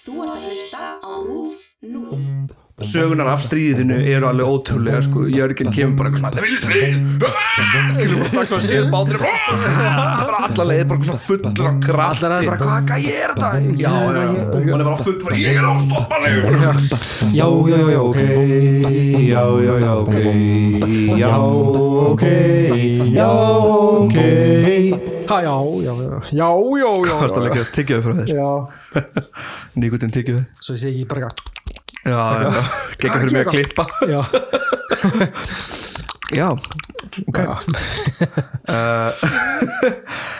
Þú ert að hlusta á RÚF 0. sögunar af stríðinu eru alveg ótrúlega sko. Jörgen kemur bara eitthvað svona það viljið stríð Ah, skilur bara strax að séð bátur bara alla leið bara svona fullur af kraft allar leið bara hvað gæ ég er þetta já, já, já, hann er bara full bara ég er ástoppanleg Já, já, já, ok Já, já, já, ok Já, ok Já, ok Ha, já, já, já, já, já, já, Fyrst að já, leggja tyggjöðu frá þér já, Nikutin tyggjöðu svo ég sé ekki bara eitthvað, Já, já, já Gekka fyrir mig að klippa já, Já, ok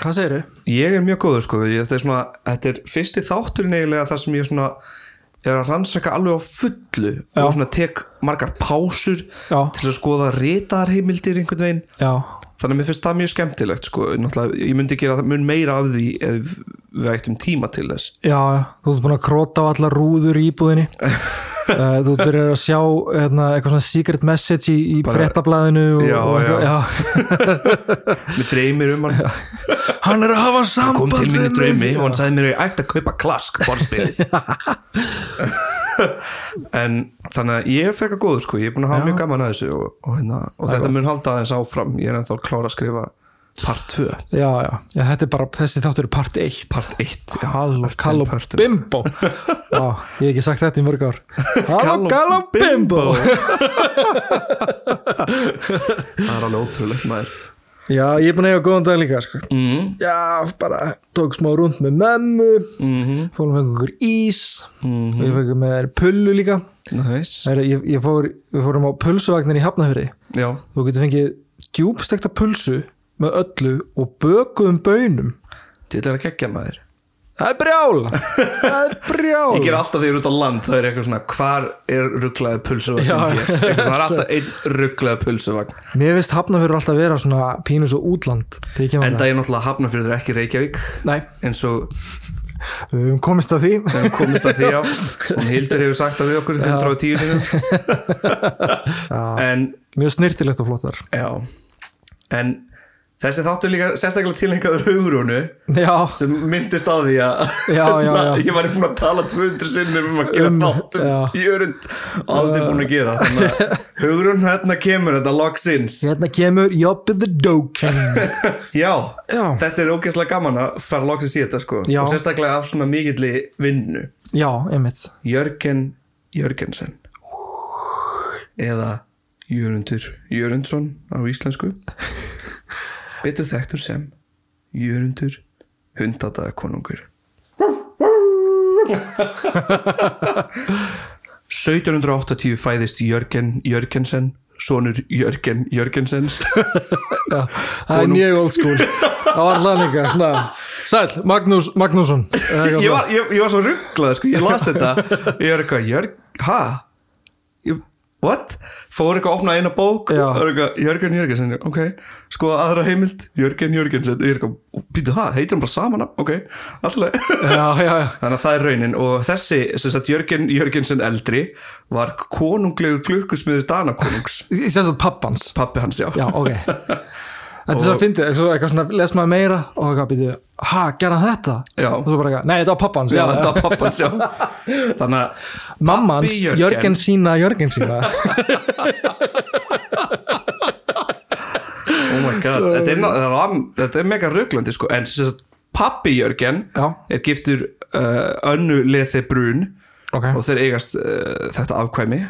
hvað segiru? Ég er mjög góður sko ég, þetta, er svona, þetta er fyrsti þátturinn eiginlega þar sem ég svona er að rannsaka alveg á fullu og svona tek margar pásur Já. til að skoða ritaðarheimildir einhvern veginn Já, þannig að mér finnst það mjög skemmtilegt sko Náttúrulega, ég myndi gera það mun meira af því ef við ættum tíma til þess já, já, þú ert búin að króta á alla rúður í íbúðinni, uh, þú ert byrjar að sjá hérna, eitthvað svona secret message í, í fréttablaðinu og, Já, og, já. já, mér dreymir um hann hann er að hafa kom samband til mín í við draumi mig. og hann sagði mér að ég ætti að kaupa klask borðspilið en þannig að ég er frekar góður sko, ég er búin að hafa mjög gaman að þessu og, og, hérna, og þetta mun halda aðeins áfram ég er ennþá að klára að skrifa part 2 Já, já, já, þetta er bara, þessi þáttur er part 1 part 1 Halló, Eftir Kalló partum. Bimbo Já, ég hef ekki sagt þetta í mörg ár Halló, Kalló Bimbo það er alveg ótrúlegt maður Já, ég er búin að eiga góðan dag líka sko. mm, Já, bara tók smá rúnd með memmu Mhm. Fórum fengið okkur ís Og ég fengið með henni pullu líka nice. Heru, ég, ég fór, Við fórum á pulsuvagnin í Hafnafyrri já, Þú getur fengið djúbstekta pulsu Með öllu og bökuðum bönum til er að kekja maður Það er brjál Það er brjál Ég ger alltaf því ég er út á land það er eitthvað svona, hvar er rugglaði pulsuvagn Já. hér? Eitthvað, Það er alltaf einn rugglaði pulsuvagn Mér finnst Hafnafyrri alltaf vera svona pínu svo útland Þegar ég kemur Enda ég náttúrulega hafna fyrir ekki Reykjavík Nei, eins og við höfum komist að því við höfum komist að því á hún Hildur hefur sagt að við okkur 110 sinum en Mjög snirtilegt og flottar já en þessi þáttur líka sérstaklega tilhengaður hugrónu Já, sem myndist á því að Já, já, já. ég var búin að tala 200 sinnum um að gera Um, þáttum já. í örund og aldrei búin að gera þannig að hugrún hérna kemur þetta loksins hérna kemur Jobby the Doe King já, Já. þetta er ógeðslega gaman að fara loksins í þetta sko Já. og sérstaklega af svona mikilli vinnu Já, einmitt Jörgen Jörgensen eða Jörundur Jörundsson á íslensku betur þekktur sem Jörundur hundadakonungur 1780 fæðist Jörgen Jörgensen sonur Jörgen Jörgensens Já, það er mjög old school Það var hlæninga, svona Sæll, Magnús, Magnússon Eða eitthvað ég var, ég, ég var svo rugglað sko, ég las þetta ég er eitthvað, Jörg, ha Ég- what, fór eitthvað að opna eina bók, Já. er eitthvað Jörgen Jörgensen ok, sko aðra heimild Jörgen Jörgensen, ég er eitthvað, býtu ha heitir hann bara saman, nafn? ok, alltaf svona. Já, já, já þannig að það er raunin og þessi, sem sagt Jörgen Jörgensen eldri var konunglegu glukkusmiður Danakonungs, Ég sens að pappans pappi hans já Já, ok Þetta er svo að fyndi, eitthvað svona Les maður meira og eitthvað býtu Ha, gerða þetta? Já. Og svo bara eitthvað, nei, þetta var pappans Já, þetta var pappans, já Þannig að Mammans, Pabbi Jörgen. Jörgen sína, Jörgen sína Oh my god, þetta er, ná- það var, þetta er mega rugglandi sko, en sem sagt, pappi Jörgen Já. er giftur uh, önnu leði brún Ok, og þeir eigast uh, þetta afkvæmi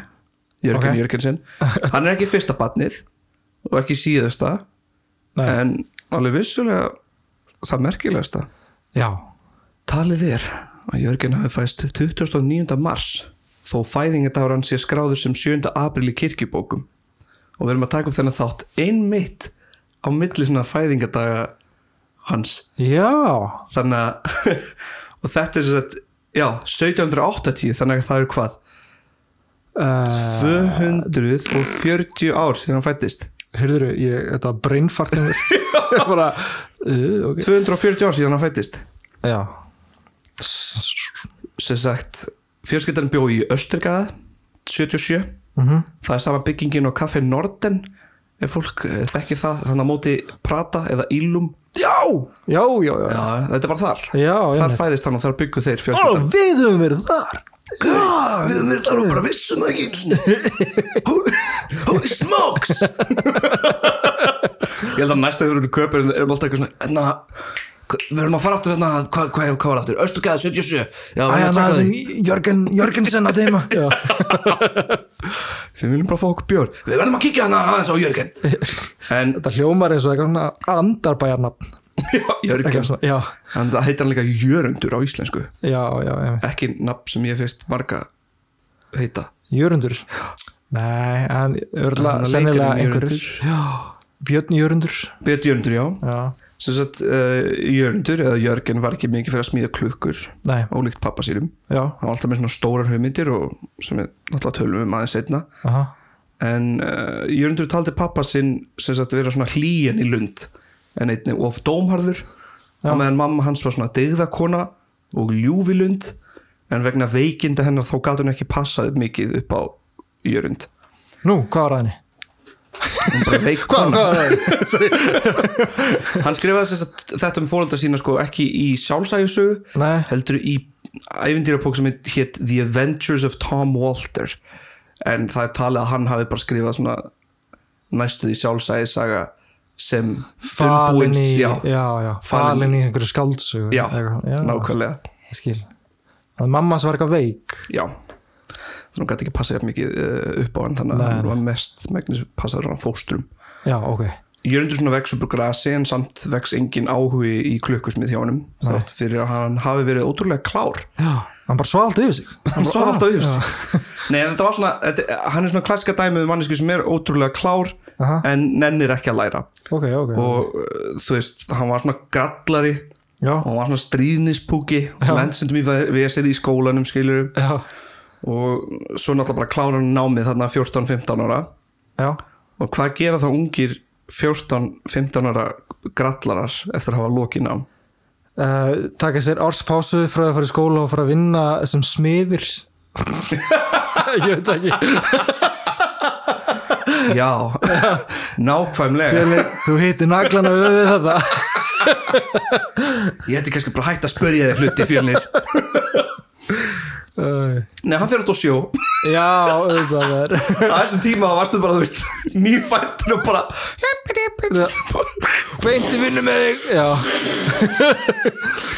Jörgen Ok. Jörgensen hann er ekki fyrsta batnið og ekki síðasta nei, en alveg vissulega það merkilegasta já talið er að Jörgen hafi fæst 29. mars þó fæðingadára hans sé skráður sem 7. april í kirkjubókum og við erum að taka upp þennan þátt einmitt á milli svona fæðingadaga hans Já, þannig að og þetta er svo að já, 1780 þannig að það eru hvað uh, 240 ár síðan hann fættist Heyrður, ég, þetta var brainfart hjá mér Ég bara, uh, ok 240 ár síðan hann fættist Já, sem sagt, fjölskyldan bjó í Östurgaða 77 það er sama byggingin og Café Norden ef fólk eh, þekkir það þannig að móti Prata eða Illum já, já, já, já, já, þetta er bara þar Já, þar einmitt. fæðist hann og þar byggu þeir Ó, fjölskyldan við höfum verið þar við höfum verið þar og bara vissum það ekki einu sinni. Holy- holy smokes ég held að næsta þegar við erum köpur erum alltaf eitthvað svona enna, við erum að fara aftur hérna hvað hva, hva var aftur, Östugæða 77 já, við erum að Æja, taka það því sem Jörgen, Jörgensen að deyma Já, við viljum bara fá okkur bjór við verðum að kíkja hana aðeins á Jörgen en þetta hljómar eins og eitthvað svona andarbæjarnafn Eitthvað Jörgen svona, Já, en það heitir hann líka Jörundur á íslensku já, já, einmitt. ekki nafn sem ég fyrst marga heita Jörundur Nei, en örla, Hann er sennilega leikarinn einhverjur Jörundur. Já, Björn Jörundur Björn Jörundur, já Já, sem sagt uh, Jörundur eða Jörgen var ekki mikið fyrir að smíða klukkur nei, ólíkt pappa sínum já, hann var alltaf með svona stórar hugmyndir og sem við náttúrulega tölum um aðeins setna aha en uh, Jörundur taldi pappa sinn sem sagt vera svona hlýjan í lund en einni of dómharður á meðan mamma hans var svona degðakona og ljúfi lund en vegna veikinda hennar þá gat hún ekki passað mikið upp á Jörund Nú, hvað var að henni? hún bara veik kona hann skrifaði sem sagt þetta um fóröldra sína sko ekki í sjálfsægjusögu Nei, heldur í æfindýrapók sem hétt The Adventures of Tom Walter en það er talið að hann hafi bara skrifað svona næstuð í sjálfsægisaga sem falin í, dulbúins- já, já, já, falin í einhverju skáldsögu já, eitthvað, já, nákvæmlega Ég skil að mamma sem var eitthvað veik já þannig að hann gæti ekki passað jafn mikið uh, upp á hann þannig að Nei, hann var mest megnis passaður á fóstrum já, ok, Jörundur svona vex upp úr grasi en samt vex engin áhugi í klukkusmið hjá honum þátt fyrir að hann hafi verið ótrúlega klár já, hann bara svalt yfir sig hann svaf alltaf yfir sig Nei, en þetta var svona, þetta, hann er svona klassika dæmið mannesku sem er ótrúlega klár Aha. en nennir ekki að læra ok, ok, og uh, þú veist, hann var svona grallari já, og hann var svona stríðnispúki og lendsundum í vesir í skólanum skilurum já, og svo náttúrulega bara klárar hann námið þarna 14-15 ára já og hvað gera þá ungir 14-15 ára grallarar eftir að hafa lokið nám Uh, taka sér árspásu frá að fara í skóla og fara að vinna sem smiðir ég veit ekki Já, nákvæmlega þú hitti naglana við þetta Ég hætti kannski bara hægt að spörja þér hluti fjölnir uh, Nei, hann fyrir þetta á sjó já, auðvitað er Á þessum tíma þá varstu bara, þú veist Nýfættur og bara beinti vinnu með þig já,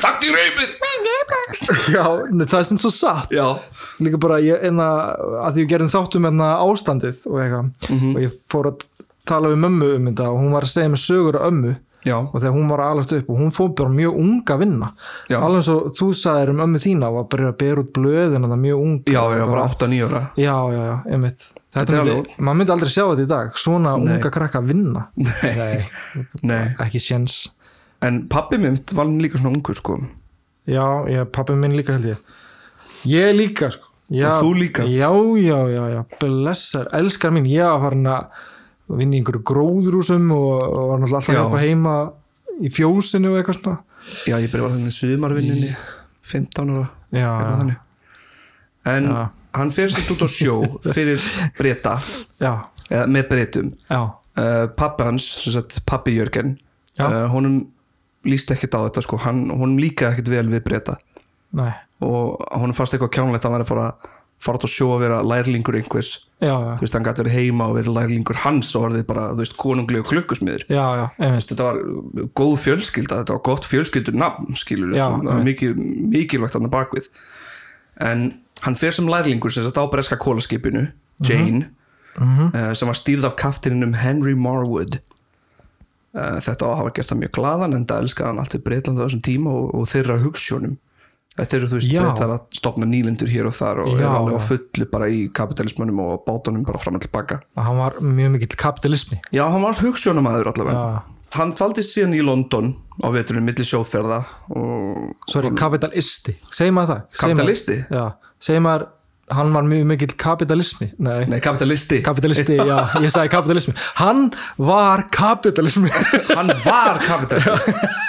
Takk í raumið já nei, það er sem svo satt Já, líka bara ég, enna, að því við gerðum þáttum enna um, hérna, ástandið og, eitthvað, og ég fór að tala við mömmu um þetta og hún var að segja mig sögur af ömmu já, og þegar hún var að alast upp og hún fór bara mjög unga að vinna Já. alveg eins og þú sagðir um ömmu þína og að byrja að bera út blöðin það mjög unga já, Og já, bara 8-9 ára já, já, já, einmitt þetta Þetta er myndi, maður myndi aldrei sjá þetta í dag svona unga krakka að vinna Nei. Nei, ekki séns en pabbi minn var líka svona ungur, sko já, já, pappi minn líka held ég ég líka sko. já, Og þú líka? já, já, já, já, blessar, elskar mín ég var farin að vinna í einhverju gróðrúsum og, og var náttúrulega alltaf Já. hjálpa heima í fjósinu og eitthvað svona Já, ég byrja var þannig sumarvinninni 15 ára, já, eitthvað já, þannig En Já. hann fyrir sér út á sjó fyrir breyta, já, eða með breytum já, uh, pappi hans, sem sagt, pappi Jörgen Já. uh, honum líst ekkert á þetta sko, hann, honum líka ekkert vel við breyta nei og honum fannst eitthvað kjánlegt að hann væri bara fara út og sjó að vera lærlingur einhvers já, já, þú veist, hann gæti verið heima og verið lærlingur hans og orðið bara, þú veist, konunglegu klukkusmiður já, já, einmitt þetta var góð fjölskylda þetta var gott fjölskyldur nafn, skilur Já, það var einmitt. mikið, mikilvægt hann að bakvið en hann fer sem lærlingur sem þetta á breska kólaskipinu Mhm. Jane eh, sem var stýrð af kaftininum Henry Marwood Eh, þetta á að hafa gert það mjög glaðan en það elskaði hann allt til Breitland á þessum tíma og, og þeirra hugssjónum þetta eru þú veist Já. breytar að stopna nýlendur hér og þar og Já. er alveg á fullu bara í kapitalismunum og bátunum bara fram og tilbaka hann var mjög mikill kapitalismi Já, hann var hugssjónamæður allavega Já. Hann dvaldist síðan í London á veturinn milli sjóferða og sorry, kapitalisti, segjum maður það Segir maður- Kapitalisti? já, segjum maður, hann var mjög mikill kapitalismi nei, Nei, kapitalisti kapitalisti, já, ég sagði kapitalismi hann var kapitalismi Hann var kapitalisti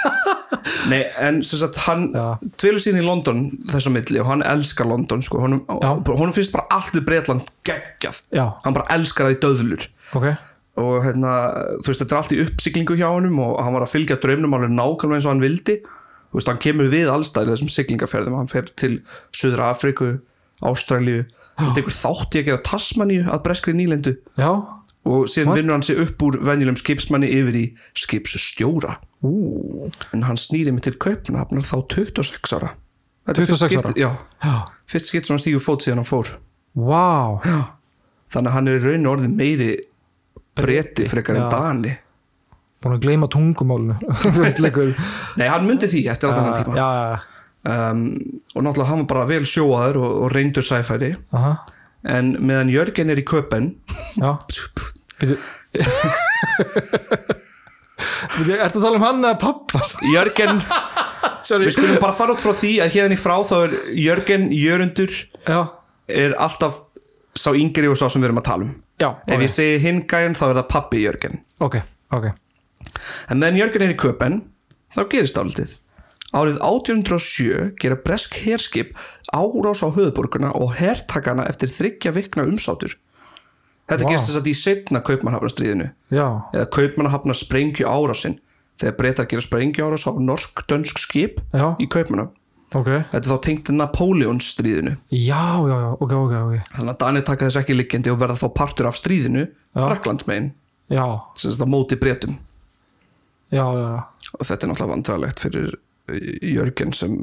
Nei, en sem sagt hann Já. dvelur síðan í London þess á milli og hann elskar London sko, honum, Já. honum finnst bara allt við Breitland geggjað Já. Hann bara elskar það í döðlur ok, og hérna, þú veist, þetta er allt í uppsiglingu hjá honum og hann var að fylgja draumnum alveg nákvæmlega eins og hann vildi þú veist, hann kemur við allstæðið þessum siglingaferðum hann fer til Suður Afriku Ástralíu, hann tekur þátt í að gera Tasmaníu að breskri nýlendu já, og síðan vinnur hann sig upp úr venjulegum skipsmanni yfir í skipsstjóra ú, en hann snýri mig til Kaupnahafnar þá 26 ára Þetta er 26 fyrst ára? skipt- Já, já, fyrst skipt sem hann stígur fót síðan hann fór vá þannig að hann er í raun og orðið meiri breti frekar en já. dani búin að gleyma tungumálinu þú veist, leikur nei, hann myndi því eftir allan já, hann tíma Ah, já, já, um, og náttúrulega hann var bara vel sjóaður og, og reyndur sæfæri aha, en meðan Jörgen er í köpen já Býtu Býtu, ertu að tala um hann eða pappas? Jörgen, Sorry við skulum bara fara út frá því að hérna í frá þá er Jörgen Jörundur Já, er alltaf sá yngri og sá sem við erum að tala um já, ef ok, ég segi hinn gæn þá er það pappi Jörgen ok, ok En meðan Jörgen er í köpen, þá gerist álitið. Árið 1807 gera bresk herskip árás á höfuborguna og hertakana eftir þryggja vikna umsátur. Þetta Vá. gerist þess að í setna kaupmannhafnarstríðinu Já, eða kaupmannhafnar sprengju árásinn þegar breytar gera sprengju árás á norsk-dönsk skip Já. í kaupmannhaf. ok Þetta er þá tengt Napoleons stríðinu. Já, já, já, ok, ok, ok Þannig að Danir taka þess ekki liggjandi og verða þá partur af stríðinu Fraklandsmein, Já, sem þetta móti breytum. já, já, já og þetta er náttúrulega vandralegt fyrir eh, Jörgen sem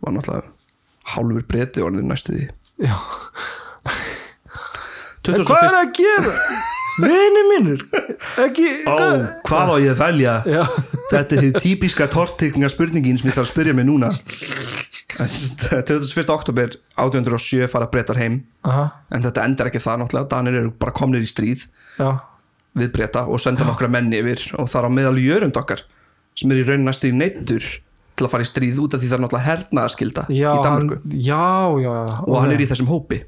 var náttúrulega hálfur breyti og orðin næstu því Já. 21. að gera? Vini mínur Ekki Ó, hvað á ég að velja? Já. Þetta er því típiska tortryggninga spurningin sem ég þarf að spyrja mig núna 21. oktober 1807 fara breytar heim Aha, en þetta endar ekki það náttúrulega Danir eru bara komnir í stríð já, við breyta og senda nokkra menn yfir og þar á meðal jörund okkar sem er í raun næstu í neittur til að fara í stríð út af því það er náttúrulega hernaðarskilda já í Danmarku hann, Já, já, já og hann er í þessum hópi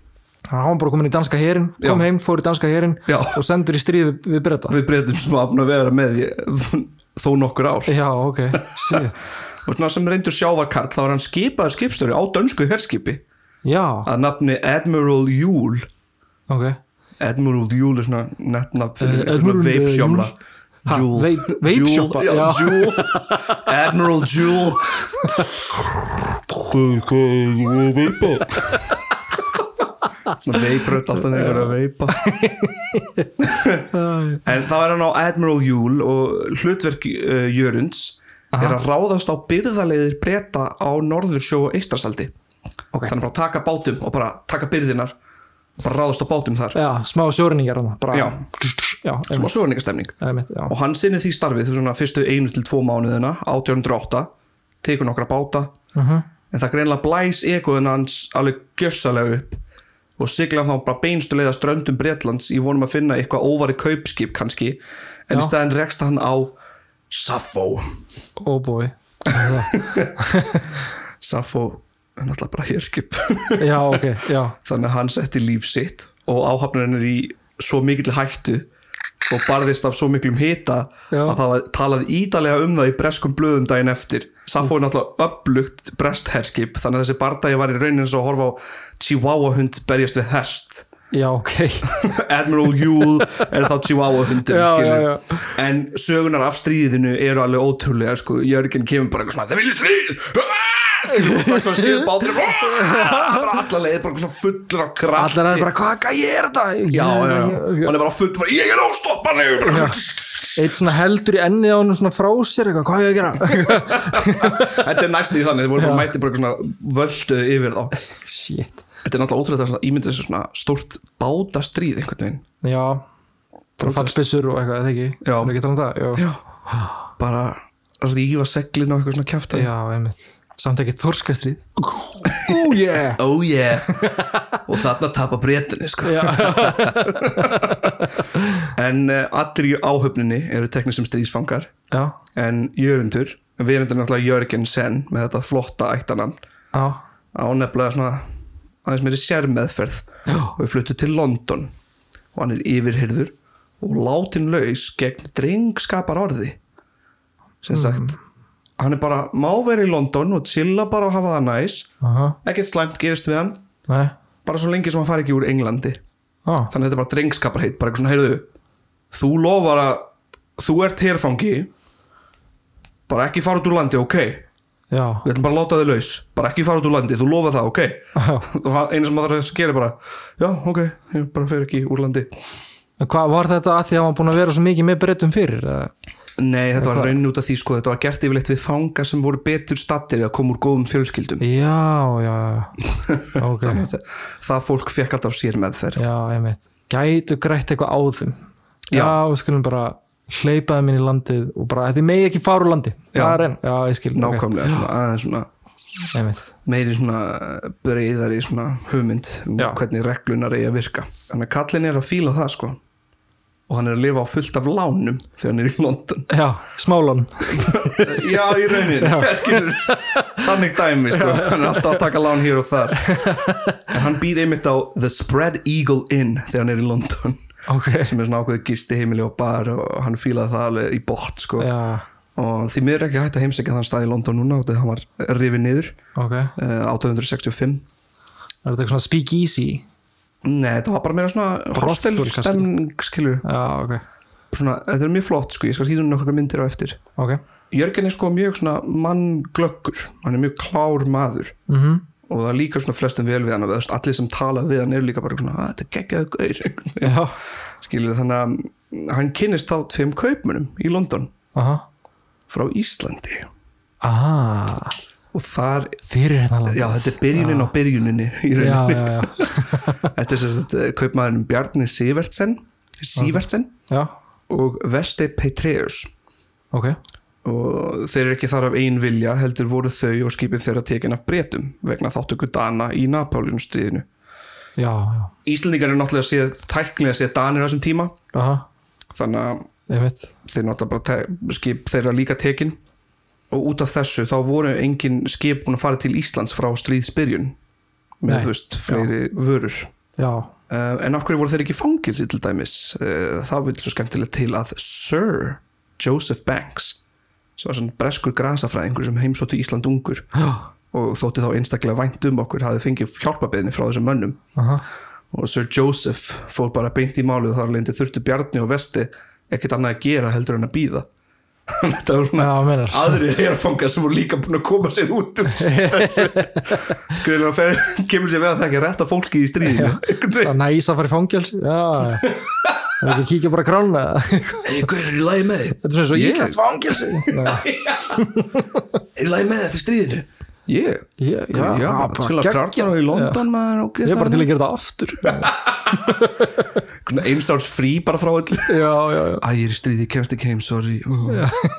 Hann var bara komin í danska herin Kom Já. heim, fór í danska herin Já. Og sendur í stríð við, við breyta við breytum sem að vera með í þó nokkur ár Já, ok, shit og svona sem reyndur sjávarkarl þá var hann skipaður skipstjóri á dönsku herskipi Já, að nafni Admiral Júl ok Admiral Júl er svona netnafn fyrir Eh, einhvern svona veipsjómla Admiral, eh, Jule. Ha, vape- vape-sjómla, já, já. Júl Admiral Júl Hvað veipa? Svona veipröð alltaf nefnir að veipa En það er hann á Admiral Júl og hlutverk uh, Jörunds er að ráðast á byrðaleiðir breyta á Norðursjó og Eistasaldi Ok. Þannig bara að taka bátum og bara taka byrðinar og bara ráðast á bátum þar Já, smá sjórinningar hann bara, Já. já sem einmitt, á sögurningastemning einmitt, já. um og hann sinnir því starfið fyrir svona fyrstu einu til tvo mánuðina 1808 tekur nokkra báta Mhm. -huh. en það greinlega blæs egoðin hans alveg gjörsalega upp og sigla þá bara beinstu leiða ströndum Bretlands í vonum að finna eitthvað óvari kaupskip kannski en í Já. staðin rekst hann á Sappho Oh boy Sappho er náttúrulega bara hérskip Já, ok, já þannig að hann setti líf sitt og áhafnarinn er í svo mikill hættu og barðist af svo miklum hita Já. að það var talað ítalega um það í breskum blöðum daginn eftir Saffo er náttúrulega öflugt brest herskip þannig að þessi bardagi var í raunin eins og að horfa á Chihuahua hund berjast við hest Já, ok Admiral Yule er þá Chihuahua hundin Já, skilur. já, en sögunar af stríðinu eru alveg ótrúlega sko. Jörgen kemur bara eitthvað svona það viljið stríð Ah! skilur og strax var síðan bátur bara allar leið bara svona fullur af kraft Allar er bara, hvað hvað er þetta? já, já, já. já. hann er bara fullur bara ég er óstoppanlegur bara, Eitt svona heldur í ennið á hann svona frá sér eitthvað, hvað á ég að gera? þetta er næst í þannig þið voru bara mætið bara eitthvað svona völduð yfir þá Shit þetta er náttúrulega ótrúlega svona ímyndið þessu svona stórt báta stríð einhvern veginn Já, bara fallbissur og eitthvað, eða ekki? Já. Erum við ekki að tala um það? Já, bara rífa seglinu og eitthvað svona kjafta já einmitt Samt ekki þorskastrið Oh yeah oh yeah og þarna tapa breytinni sko. en uh, allir í áhöfninni eru teknir sem stríðsfangar Já, en Jörundur, við erum náttúrulega Jörgensen með þetta flotta ættanamn já, á nefnilega svona aðeins meiri sérmeðferð Já. og við fluttu til London og hann er yfirhyrður og látin laus gegn drengskapar orði sem sagt hann er bara má vera í London og chilla bara og hafa það næs aha, ekkert slæmt gerist við hann nei bara svo lengi sem hann fari ekki úr Englandi Já, þannig að þetta er bara drengskaparheit bara eitthvað svona, heyrðu, þú lofar að þú ert herfangi bara ekki fara út úr landi, ok við já, ætlum bara að láta þig laus bara ekki fara út úr landi, þú lofa það, ok já. og hann- eina sem maður þarf að skera er bara já, ok, ég bara fer ekki úr landi En Hvað var þetta að því að hann var búin að vera svo mikið með breytum fyrir? eða? nei, þetta var raun út af því sko þetta var gert yfirleitt við fanga sem voru betur stattir að koma úr góðum fjölskyldum Já, já, já. ok, Þannig að það, það fólk fekk alltaf sér meðferð já, einmitt. Gætu grætt eitthvað á þeim. Já, Já. við skulum bara hleypaði minn í landið og bara, þið megi ekki fara úr landi. Já. Það er enn, já, ég skil. nákvæmlega, svona, aðeins svona Okay. Einmitt, meiri svona breyðari svona hugmynd um Já. hvernig reglunar eigi að virka þannig að kallin er að fíla það sko og hann er að lifa á fullt af lánum þegar hann er í London já, smálón. já í rauninni Skilur, þannig dæmi sko hann er alltaf að taka lán hér og þar en hann býr einmitt á The Spread Eagle Inn þegar hann er í London Ok, sem er svona ákveðið gisti heimili og bar og hann fílaði það alveg í bótt sko já, og því miður er ekki hægt að heimsækja þann stað í London núna og það hann var rifið niður ok. eh, 1865 Er þetta eitthvað svona speakeasy? Nei, þetta var bara meira svona hostel kannski. stemning, skilur Já, ok, svona, Þetta er mjög flott, sko, ég skal skýta hún nokkar myndir á eftir ok. Jörgen er sko mjög svona mannglöggur hann er mjög klár maður Mm og það líka svona flestum vel við hann og þú veist, allir sem tala við hann eru líka bara svona "Ah, þetta er geggjaðu gaur Já, skilur þannig að mm, hann kynnist þá tveim kaupmunum í London aha. frá Íslandi Aha, og þar, fyrir hérna landið. já þetta er byrjunin á byrjuninni í já, rauninni, já, já. þetta er sérst kaupmaðurinn Bjarni Sivertsen Sivertsen Já, og Vesti Petreus ok, og þeir eru ekki þar af ein vilja heldur voru þau og skipið þeirra tekin af bretum vegna þáttöku Dana í Napólinustriðinu. já, já. Íslendingar eru náttúrulega séð, tæknilega séð Danir á þessum tíma Aha, þannig að einmitt. þeir náttúrulega bara te- skip þeirra líka tekin og út af þessu þá voru engin skip búin að fara til Íslands frá stríðsbyrjun með Nei, þú veist fleiri vörur Já, uh, en af hverju voru þeir ekki fangilsi til dæmis uh, það vil svo skemmtilegt til að Sir Joseph Banks sem var svona breskur grasafræðingur sem heimsótti Ísland ungur já, og þótti þá einstaklega vænt um okkur hafði fengið hjálpabeðinni frá þessum mönnum aha. og Sir Joseph fór bara beint í málið og þar leindi þurftu Bjarni og Vesti ekkert annað að gera heldur en að býða þetta var svona Já, meinar. aðrir herfangar sem voru líka búin að koma sér út úr þessu greiðlega fer, kemur sér við að það ekki rétta fólki í stríðinu einhvern Það veginn. er næs að fara í fangjáls Já, já. Það er ekki að kíkja bara að krána Þetta Hey, Guður, er í lagi með þig? er svona svo Ég- íslenskt fangelsi Já, Er í lagi með þig eftir stríðinu? Ég? já, já, Já, bara til að geggjað. krarla í London maður og Ég er gestaðan. bara til að gera þetta aftur Já, Svona eins árs frí bara frá öllu já, já Æ, ég er í stríði, ég kemst ekki heim, sorry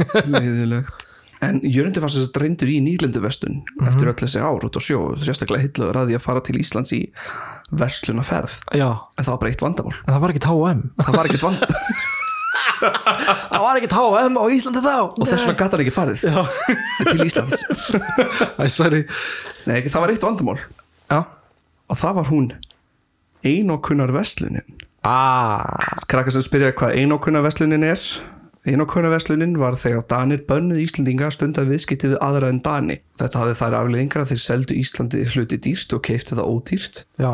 Leðilegt En Jörgundi var sérst reyndur í nýlenduvestun eftir öll þessi ár út á sjó sérstaklega hillaður að því að fara til Íslands í verslunaferð Já, en það var bara eitt vandamál en það var ekki H&M það var ekkert vand Það var ekki H&M á Íslandi þá og þess vegna gat hann ekki farið til Íslands Æ, sorry Nei, ekki, það var eitt vandamál Já og það var hún einokunar verslunin Ah, krakkar sem spyrja hvað einokunarverslunin er einokunarverslunin var þegar Danir bönnuð Íslendinga stundar viðskipti við aðra en Dani þetta hafði þær afleðingar að þeir seldu Íslandi hluti dýrt og keifti það ódýrt já,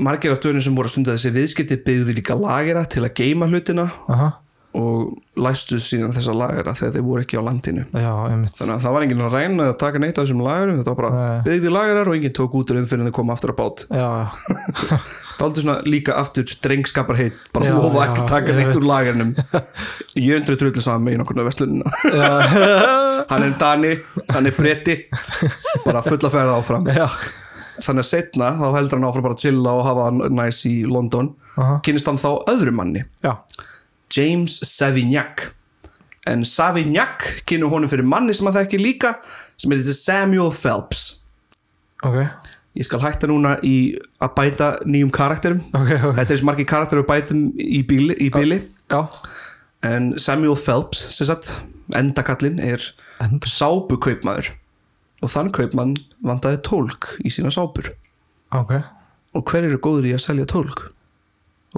margir af dörnum sem voru að stunda þessi viðskipti byggðu líka lagera til að geima hlutina aha og læstu síðan þessa lagera þegar þeir voru ekki á landinu Já, einmitt þannig að það var enginn að reyna að taka neitt af þessum lagerum þetta var bara Nei. byggði lagerar og enginn tók út úr þeim fyrir en þau koma aftur að bát Já, Það er aldrei svona líka aftur drengskapar heitt bara Já, lofa já, ekki taka ég neitt veit. úr lagernum Jörndur Trullu saman með nokkurnu vestlunina já hann er Dani, hann er Bretti bara fulla ferða áfram Já, þannig að setna þá heldur hann áfram bara að chilla og hafa hann næs í London Aha. kynist hann þá öðrum manni já James Savignac en Savignac kynnu honum fyrir manni sem að þekki líka sem heitir Samuel Phelps Ok, ég skal hætta núna í að bæta nýjum karakterum ok, ok þetta er sem margir karakterum bætum í bíli, í bíli. Já, En Samuel Phelps, sem sagt, endakallinn er Enda- sápukaupmaður og þann kaupmann vandaði tólk í sína sápur. ok Og hver eru góður í að selja tólk?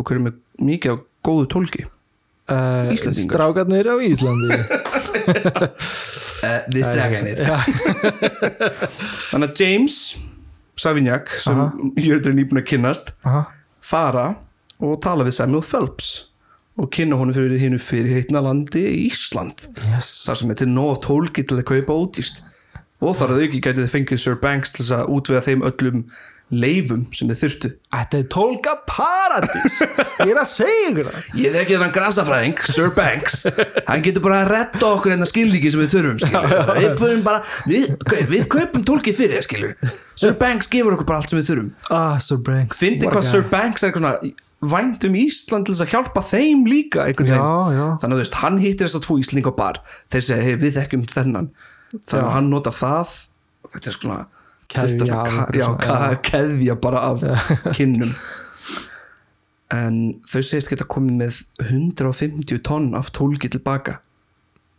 Og hver eru með mikið á góðu tólki? Uh, Íslendingar. Strákarnir á Íslandi Uh, Við streganir. Þannig að James Savignac, sem Jörður er nýbúin að kynnast, Aha fara og tala við Samuel Phelps og kynna honum fyrir hinnu fyrir heitna landi Ísland yes. þar sem er til nóg af tólki til að kaupa ódýst og þar að auki gæti þið fengið Sir Banks til þess að útvega þeim öllum leifum sem þið þurftu Þetta er tólka paradís Ég er að segja ykkur það Ég þekki þennan grasafræðing, Sir Banks Hann getur bara að redda okkur hennar skilningi sem við þurfum skilur. Við förum bara Við, gaur, við kaupum tólkið fyrir það skilur Sir Banks gefur okkur bara allt sem við þurfum Ah, Sir Banks Fyndi What a hvað guy. Sir Banks er eitthvað svona vænt um Ísland til þess að hjálpa þeim líka einhvern Já, veginn. já. Þannig að þú veist, hann hittir þess að tvo Ísling á bar Þeir segja, hey, við þekkjum þennan Þannig að hann notar það Þetta er svona Keðja fullt af af svona- einhverju já, svona, ka- já. keðja bara af kinnum En þau segist geta komið með 150 tonn af tólki tilbaka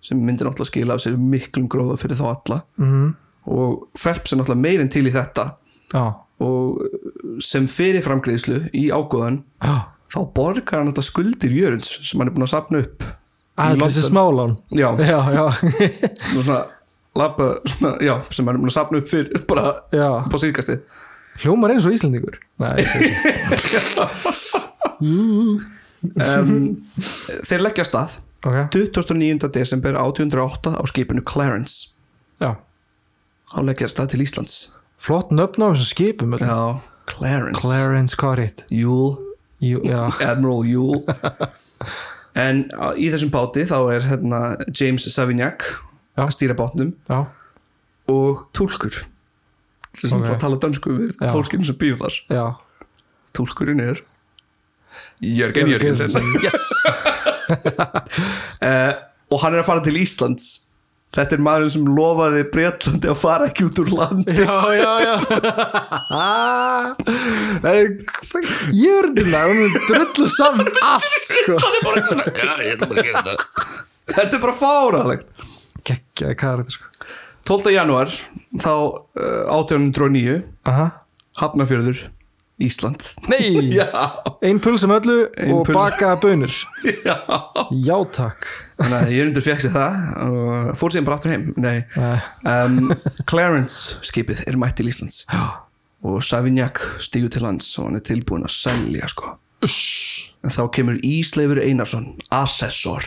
sem myndir náttúrulega skila af sér miklum gróða fyrir þá alla Mhm. og Phelps er náttúrulega meirinn til í þetta Já, og sem fyrir framgreðslu í ágóðan já þá borgar hann þetta skuldir Jörunds sem hann er búin að sapna upp Þetta er þessi smálán já, Já, já nú svona, labba, svona, já, sem hann er búin að sapna upp fyrir bara Já upp á síðkastið Hljómar eins og Íslendingur Nei, ég segi ekki. um, þeir leggja af stað ok 29. desember 1808 á skipinu Clarence Já þá leggja þeir af stað til Íslands Flott nöfn á þessum skipum öllum. já, Clarence, Clarence Corrit Júl Jú, já Admiral Júl en á- í þessum báti þá er hérna, James Savignac Já. að stýra bátnum Já, og tólkur þess að Ok. okay. tala dönsku við Já. fólkinu sem býr þar já tólkurinn er Jörgen Jörgensen Yes uh, og hann er að fara til Íslands þetta er maðurinn sem lofaði Breitlandi að fara ekki út úr landi Já, já, já Jörgina, hún er drullu saman allt sko þetta er bara fáraðlegt Gekkjaði karakter sko 12. januar þá uh, 1809 Aha. Hafnafjörður Ísland Nei, já, ein pulsa með öllu Ein og pulsa. baka bönur já Já takk þannig að Jörgundur fekk sér það og fór síðan bara aftur heim nei Nei. um, Clarence skipið er mætt til Íslands Já. og Savignac stígur til lands og hann er tilbúin að selja sko en þá kemur Ísleifur Einarsson Assessor,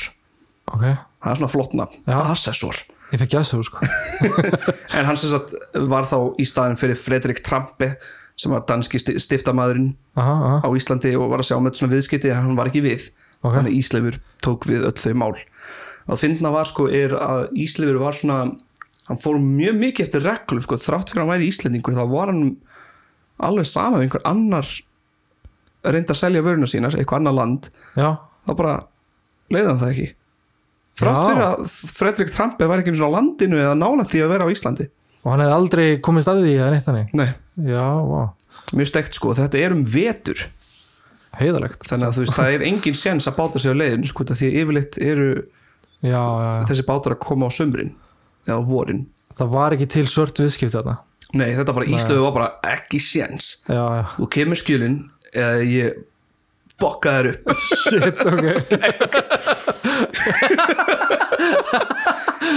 Ok, það er svona flott nafn Já. Assessor, ég fekk jæsum sko en hann sem sagt var þá í staðin fyrir Fredrik Trampe sem var danski sti- stiftamæðurinn Aha, aha, á Íslandi og var að sjá með svona viðskipti en hann var ekki við Ok. þannig að Ísleifur tók við öll þau mál að finna var sko er að Ísleifur var svona hann fór mjög mikið eftir reglum sko þrátt fyrir að hann væri Íslendingur þá var hann alveg sama við einhver annar reyndi að selja vöruna sína eitthvað annar land já þá bara leiði hann það ekki þrátt Já. fyrir að Fredrik Trampe var ekki einu svona á landinu eða nálægt því að vera á Íslandi Og hann hefði aldrei komist að því að neitt þannig nei, Já, vá, mjög stekt sko þetta er um vetur heiðalegt þannig að þú veist, það er engin séns að báta sig á leiðin sko, því að yfirleitt eru Já, já, já. þessi bátar að koma á sömrin eða á vorin það var ekki til svört viðskipt þarna nei, þetta bara Íslöfu var bara ekki séns Já, já, þú kemur skjölin eða ég fokka þær upp shit, ok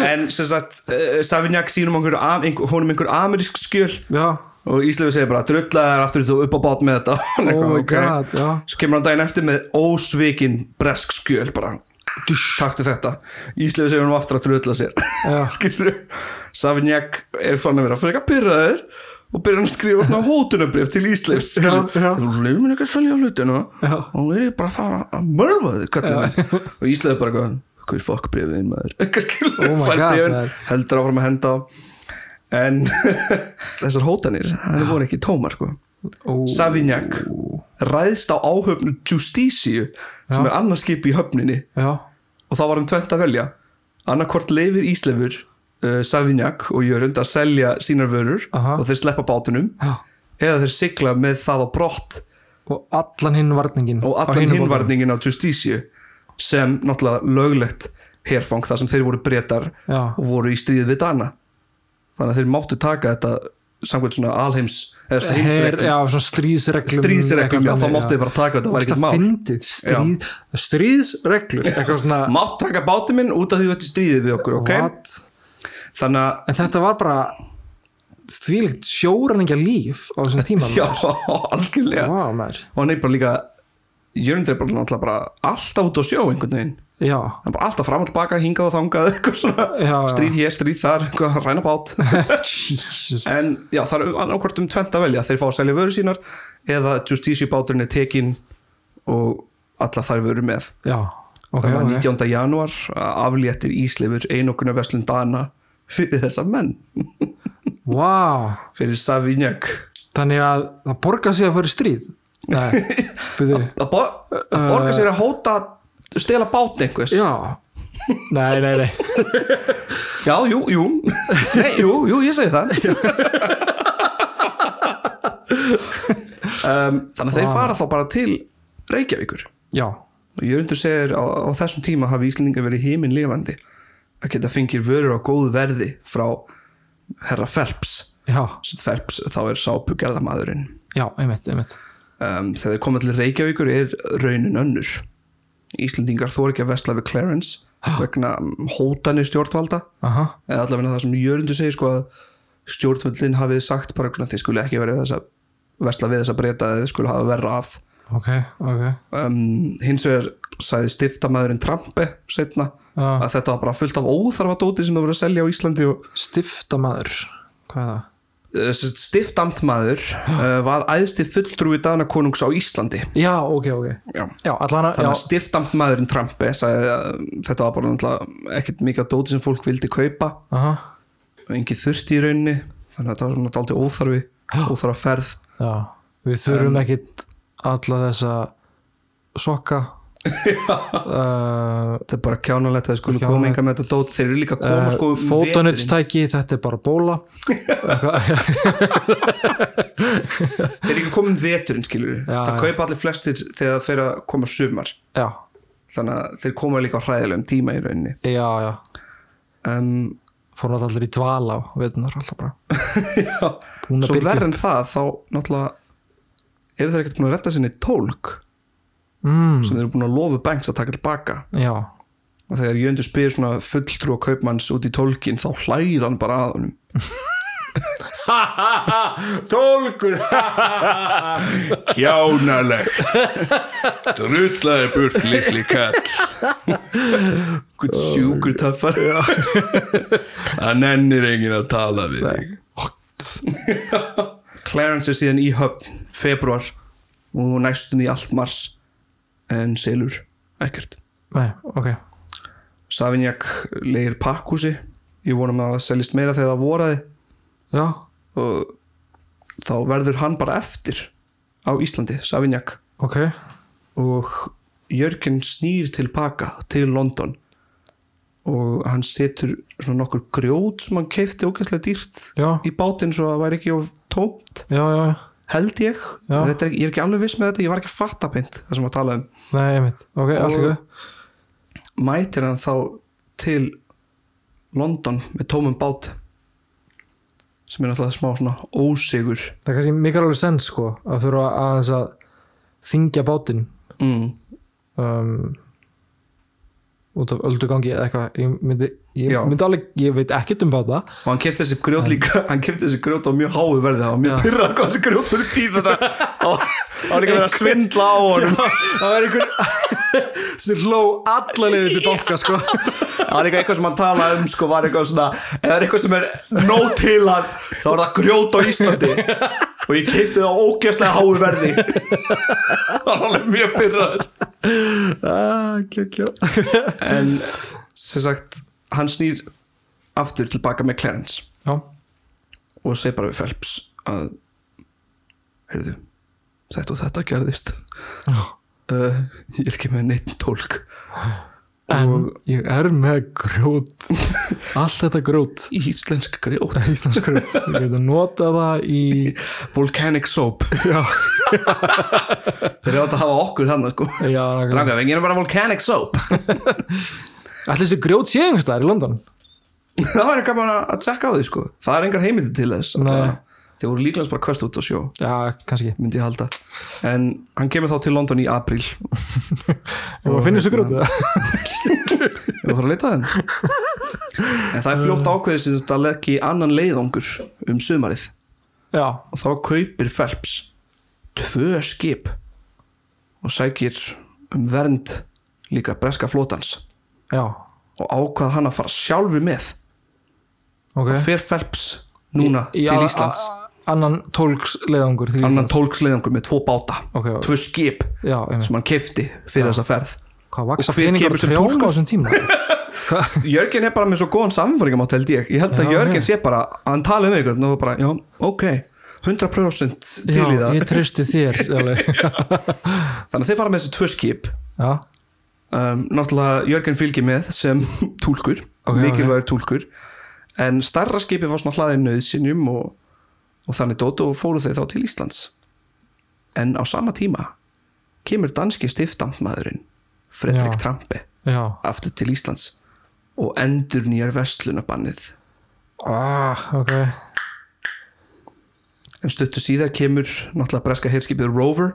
en sem sagt, uh, Savignac sínum einhver, einhver, honum einhver amerísk skjöl Já, og Íslöfu segir bara drulla þær aftur þú upp á bát með þetta Hann oh eitthvað, my ok. god, já svo kemur hann daginn eftir með ósvikin bresk skjöl bara taktu þetta, Íslöfu segir hann aftur að drulla sér Já, skilur Savignac er fann að vera frekar pyrraður og byrjar hann að skrifa svona hótunabrif til Ísleifs Já, skilur. já. þú leið mér ekki að selja hlutina Já. og hún er ég bara að fara að mörfa þig kallið hann og Ísleif bara eitthvað hver fokk brifið þinn maður Eitthvað skilur, Oh my fær God, bréfin, maður. heldur áfram að henda á en þessar hótanir það Ah. voru ekki tómar sko ó, Savignac ræðst á áhöfnu Justíciu sem Já. er annarskip í höfninni já og þá var hann tvent að velja annarkvort leifir Íslefur uh, Savignac og Jörund að selja sínar vörur Aha. og þeir sleppa bátunum Já. eða þeir sigla með það á brott Og allan hinn varningin og allan hinvarningin á Justíciu sem náttúrulega löglegt herfang þar sem þeir voru breytar Já. og voru í stríð við Dana þannig að þeir máttu taka þetta samkvæmt svona alheims eða svona Her, heimsreglum já, svona stríðsreglum Stríðsreglum, já, þá máttu þið bara taka þetta, það var ekkert mál. Fyndið, stríð, stríðsreglur Eitthvað svona mátt taka bátinn minn út af því þú ert í stríðið við okkur okay? what? þannig að En þetta var bara Þvílíkt sjóræningja líf Á þessum tíma já, algjörlega Vá, maður og hann er bara líka Jörgundur er bara náttúrulega bara alltaf út á sjó einhvern veginn já, hann er bara alltaf fram og tilbaka, hingað og þangað eitthvað Já, svona, já. stríð hér, stríð þar eitthvað, ræna bát Jesus en já, það er annarkvort um tvent að velja þeir fá að selja vöru sínar eða Justicia báturinn er tekin og alla þær vöru með já, ok, það var ok. 19. janúar að afléttir Íslefur einokunar verslun Dana fyrir þessa menn wow. fyrir Savignac þannig að það borgar sig að fara í stríð nei, byrju að bo- að borga sér að hóta að stela bát einhvers Eh, já, nei, nei, nei Já, jú, jú Nei, jú, jú, ég segi það um, Þannig að þeir fara þá bara til Reykjavíkur já, og Jörundur segir á, á þessum tíma hafi Íslendinga verið himin lifandi að geta fengir vörur á góðu verði frá herra Phelps já, Sem Phelps þá er sápugerðamaðurinn já, einmitt, einmitt um, þegar þeir koma til Reykjavíkur er raunin önnur Íslendingar þóra ekki að vesla við Clarence vegna hótani stjórnvalda aha, eða allavega það sem Jörundur segir sko að stjórnvöldin hafið sagt bara eitthvað svona þið skulle ekki verið þess að vesla við þess að breyta þið skulle hafa verra af ok, ok um, hins vegar sagði stiftamæðurinn Trampe setna að Já. þetta var bara fullt af óþarfa dóti sem það voru að selja á Íslandi og stiftamaður, hvað er það? uh, stiftamtmaður uh, var æðsti fulltrúi Danakonungs á Íslandi já, ok, ok Já. já, allan að, Þannig að já, stiftamtmaðurinn Trampe sagði að þetta var bara náttúrulega ekkert mikið af dóti sem fólk vildi kaupa aha, og engin þurfti í rauninni þannig að þetta var svona daldið óþarfi óþarfa ferð já við þurfum ekkit alla þessa sokka uh, þetta er bara kjánalegt að þið skulu koma Kjánalegt. enga með þetta dót þeir eru líka að koma uh, sko um veturinn. fótanutstæki, þetta er bara bóla þeir eru líka að koma um veturinn skilur Já, það já. kaupa allir flestir þegar það fer að koma sumar já, þannig að þeir koma líka á hræðilegum tíma í rauninni já, já um, fór náttúrulega allir í dvala á veitunar alltaf bara já, Búin að svo byrgja verð en það þá náttúrulega eru þeir ekkert búin að retta sinni tólk mm, sem þeir eru búin að lofa Banks að taka tilbaka já, og þegar Jöndu spyr svona fulltrú og kaupmanns út í tólkin þá hlægir hann bara að honum Tólkur Kjánalegt Drullaði burt litli kall Hvern sjúkur töffar Það nennir enginn að tala við þig Clarence er síðan í höfn februar og næstum í allt mars en selur ekkert nei, ok Savignac leir pakkhúsi ég vonum að það selist meira þegar það voraði já, og þá verður hann bara eftir á Íslandi, Savignac ok og Jörgen snýr tilbaka til London og hann setur svona nokkur grjót sem hann keifti ógæslega dýrt já, í bátinn svo að það væri ekki of tómt já, já, já. held ég, Já. þetta er, ég er ekki alveg viss með þetta ég var ekki að fatta beint það sem að tala um nei, einmitt, ok, allt í Og- guð mætir hann þá til London með tómum bát sem er náttúrulega smá svona ósigur það er kannski mikil alveg sens sko að þurfa aðeins að þingja bátinn mm. um, út af öldugangi eða eitthvað ég myndi, ég Já. myndi alveg, ég veit ekkert um báta og hann kefti þessi grjót líka hann kefti þessi grjót á mjög háu verði það var mjög Já. pyrrað hvað þessi grjót fyrir tíð þannig að það var líka verið að svindla á honum það er einhver sem hló allalegið upp í banka sko það var líka eitthvað sem hann talaði um sko var eitthvað svona ef það er eitthvað sem er nóg til hann þá er það grjót á Íslandi og ég kefti það á ógeðslega háu verði það var alveg mjög pyrrað ah, kjá, kjá. en sem sagt hann snýr aftur tilbaka með Clarence já, og segi bara við Phelps að heyrðu, þetta og þetta gerðist uh, ég er ekki með neitt tólk en ég er með grjót allt þetta grjót íslensk grjót íslensk grjót, ég geti notað það í volcanic soap já, þeir átt að hafa okkur þannig sko já Dranga, við gerum bara volcanic soap allir þessi grjót sé einhvers staðar í London það væri gaman að að tjekka á því sko það er engar heimildi til þess Nei. allavega. þeir voru líklega bara kvöst út á sjó já, kannski myndi ég halda en hann kemur þá til London í apríl Ég maður finnir þessu grjótið við vorum að leita að þeim en það er fljótt ákveðið sem þetta legg í annan leiðangur um sumarið Já, og þá kaupir Phelps tvö skip og sækir um vernd líka breska flótans já, og ákvað hann að fara sjálfur með ok fer Phelps núna Eh? Já, til Íslands a- a- annan tólksleiðangur til annan Íslands tólksleiðangur með tvo báta Ok, ok. tvö skip já, einmitt. sem hann kefti fyrir þessa ferð hvað vaksa Og hver kemur peningar og sem trjón á túlkur? þessum tíma Jörgen er bara með svo góðan samfæringamátt held ég ég held að Já, Jörgen já. sé bara að hann tala um einhvern og bara, já, ok 100% til já, í það ég treysti þér alveg. þannig að þeir fara með þessi tvö skip já, um, náttúrulega Jörgen fylgir með sem túlkur, Ok, okay, mikilvægur túlkur en starra skipið var svona hlaðið nöðsynjum og, og þannig dótu og fóru þeir þá til Íslands en á sama tíma kemur danski stiftamtmaðurinn Fredrik Já. Trampe já aftur til Íslands og endur nýjar verslunabannið ah, ok, en stuttu síðar kemur náttúrulega breska herskipið Rover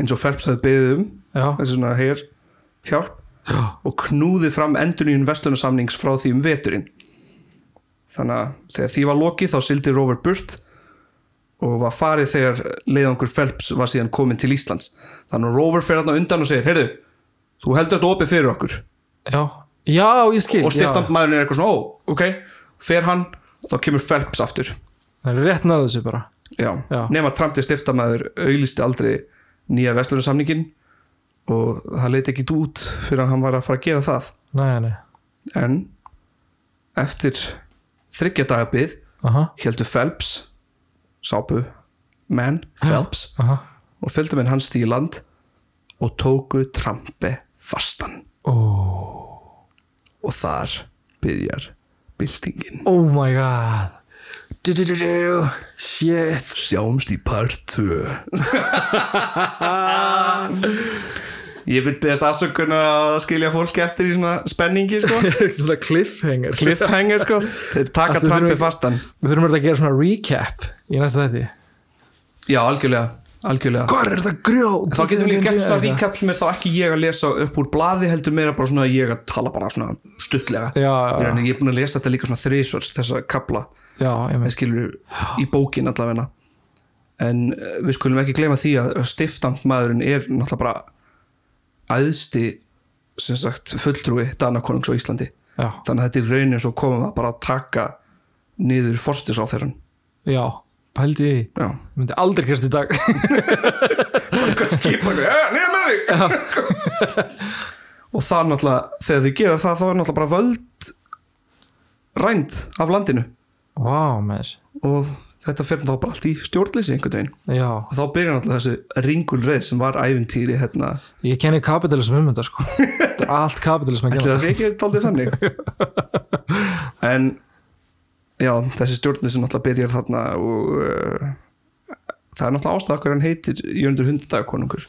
eins og Phelps hafði beðið um já þessi svona her hjálp og knúði fram endurnýjun vestlunarsamnings frá því um veturinn þannig að þegar því var lokið þá sildi Rover burt og var farið þegar leiðangur Phelps var síðan komin til Íslands þannig að Rover fer þarna undan og segir heyrðu, þú heldur þetta opið fyrir okkur já, já, ég skil og stiftamt já. maðurinn er eitthvað svona, ó, ok fer hann, þá kemur Phelps aftur það er rétt náðu þessu bara já, Já. nema Trump til stiftamæður auglisti aldrei nýja vestlunarsamningin og það leiti ekki út fyrir að hann var að fara að gera það nei, nei, en eftir þryggja dagabið aha, heldur Phelps sápu menn Phelps aha og fylgdumenn hans því í land og tóku Trumpi fastan oh. og þar byrjar byltingin oh my god du, du, du, du. shit Sjáumst í part 2 Ég vil beðast afsökunar að skilja fólki eftir í svona spenningi sko svona cliffhanger Cliffhanger sko Þeir taka Aftur þurfum Trumpi við- fastan við þurfum örugglega að gera svona recap í næsta þetta Já, algjörlega, algjörlega hvað er þetta grjót Þá getum við líka gert svona recap sem er þá ekki ég að lesa upp úr blaði heldur meira bara svona ég að tala bara svona stuttlega Já, já, já. En Ég er búin að lesa þetta líka svona þrísvars þessa kapla já, ég en með skilur í bókin allavegna en eh, við skulum ekki gleyma því að stiftamtmaðurinn er náttúrulega bara æðsti sem sagt fulltrúi Danakonungs á Íslandi já, þannig að þetta er raunin svo komum að bara að taka niður forstis á þeirra já, pældi í því. Já, myndi aldrei gerst í dag hvað skipa nýja Eh, með þig og það náttúrulega þegar þau gera það þá er náttúrulega bara völd rænd af landinu Vá, mér og þetta fyrir þá bara allt í stjórnleysi einhvern veginn Já, og þá byrjar náttúrulega þessu ringulreið sem var ævintýri hérna ég kenni kapitalism um þetta sko Þetta er Allt kapitalism að ætli gera það sé ekki taldið þannig en já, þessi stjórnleysi náttúrulega byrjar þarna og uh, það er náttúrulega ástæða okkur hann heitir Jörndur hundadagakonungur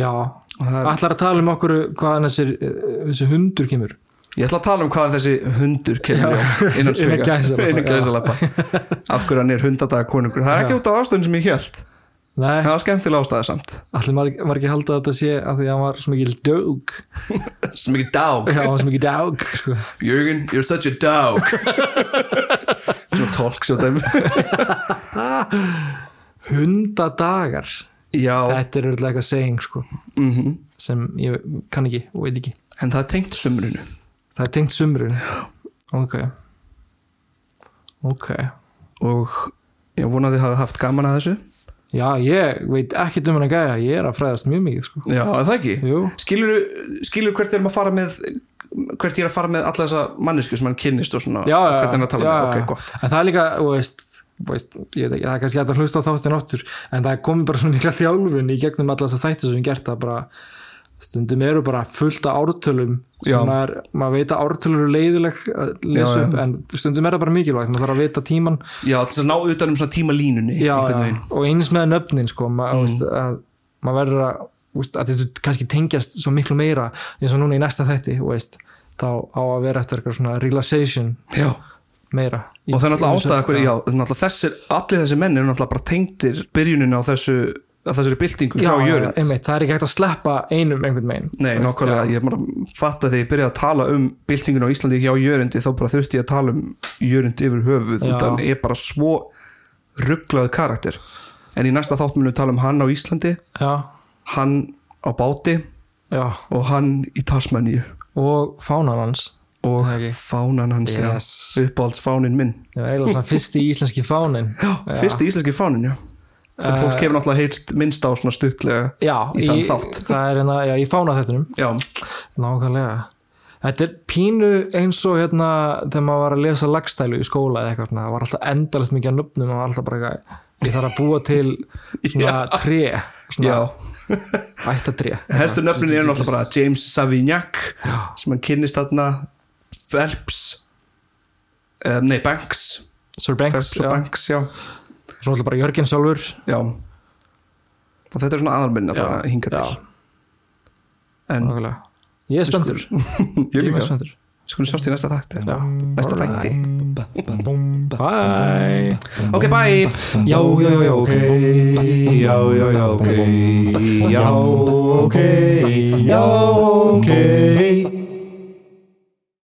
Já, Og það er- allar að tala um okkur hvaðan þessir, eh, þessi hundur kemur ég ætla að tala um hvaðan þessi hundur kemur já, innan Innan svega, gæsalappa, innan já. gæsalappa af hverju hann er hundadagakonungur það er ekki Já. út af ástæðun sem ég held Nei, það var skemmtilega ástæða samt allir maður maður ekki að halda að þetta sé að því að hann var svo mikil dög sem ekki dag Já, hann var svo mikil dög sko. Jürgen, you're such a dog svona tólk svo dæmi Hundadagar Já, Þetta er auðvitað eitthvað saying sko Mhm. sem ég kann ekki og veit ekki en það er tengt sumrunu Það er tengt sumrun Ok Ok og ég vona að þið hafa haft gaman að þessu Já, ég veit ekki um hann að gæja Ég er að fræðast mjög mikið sko Já, er það ekki? Jú. Skilur, skilur hvert við erum að fara með hvert ég er að fara með alla þessa mannesku sem hann kynnist og svona já, já, hvernig hann er að tala já, með, já. ok, gott en það er líka, þú veist, þú veist ég veit ekki, það er kannski hægt að hlusta á þáttin áttur en það komið bara svona mikla þjálfun í gegnum alla þess að þætti sem við höfum gert að bara stundum eru bara fullt af ártölum Já. sem maður, maður veit að ártölur eru leiðileg að lesa Já, já. upp en stundum er það bara mikilvægt, maður þarf að vita tíman Já, til þess að ná utan um svona tímalínunni já, einhvern já, veginn. og eins með nöfnin sko, maður, mm. veist, að, maður verður að, veist, að þetta kannski tengjast svo miklu meira eins og núna í næsta þætti þú veist, þá á að vera eftir eitthvað svona realization já. meira Og það er náttúrulega ástæða hverju, já, náttúrulega þessir allir þessi menn eru náttúrulega bara tengdir byrjunin á þessu, að þessari byltingu já, frá já, Jörund einmitt, það er ekki hægt að sleppa einum einhvern veginn Nei, nákvæmlega, ég bara fatt að þegar ég byrjaði að tala um byltingun á Íslandi hjá Jörundi þá bara þurfti ég að tala um Jörundi yfir höfuð Já. og þannig er bara svo rugglaðu karakter en í næsta þátt munum við tala um hann á Íslandi já, hann á báti já, og hann í Tasmaníu og fánan hans og Það ekki. fánan hans yes. Yes. uppáhaldsfánin minn það var eiginlega svona fyrsti íslenski fánin já. fyrsti íslenski fánin já. sem fólk Eh. hefur náttúrulega heilt minnst á svona stuttlega já, í þann þátt. það er hérna, já, í fána þettinum já, nákvæmlega Þetta er pínu eins og hérna þegar maður var að lesa lagstælu í skóla eða eitthvað svona, það var alltaf endalist mikið að nöfnum og maður var alltaf bara eitthvað, ég þarf að búa til svona tré, svona já. ættatré. Helstu nöfnin eru náttúrulega bara James Savignac sem hann kynnist þarna Phelps um, nei Banks Sir Banks, Phelps og já, Banks, já, svona alltaf bara Jörgen sjálfur. já og þetta er svona aðalminn að hinga til en Nákvæmlega. Ég er spenntur, ég ég er mjög líka, spenntur. sko við sjást í næsta takti Já. næsta þætti Bye! ok bye Já, já, já, ok Já, já, já, ok Já, ok Já, ok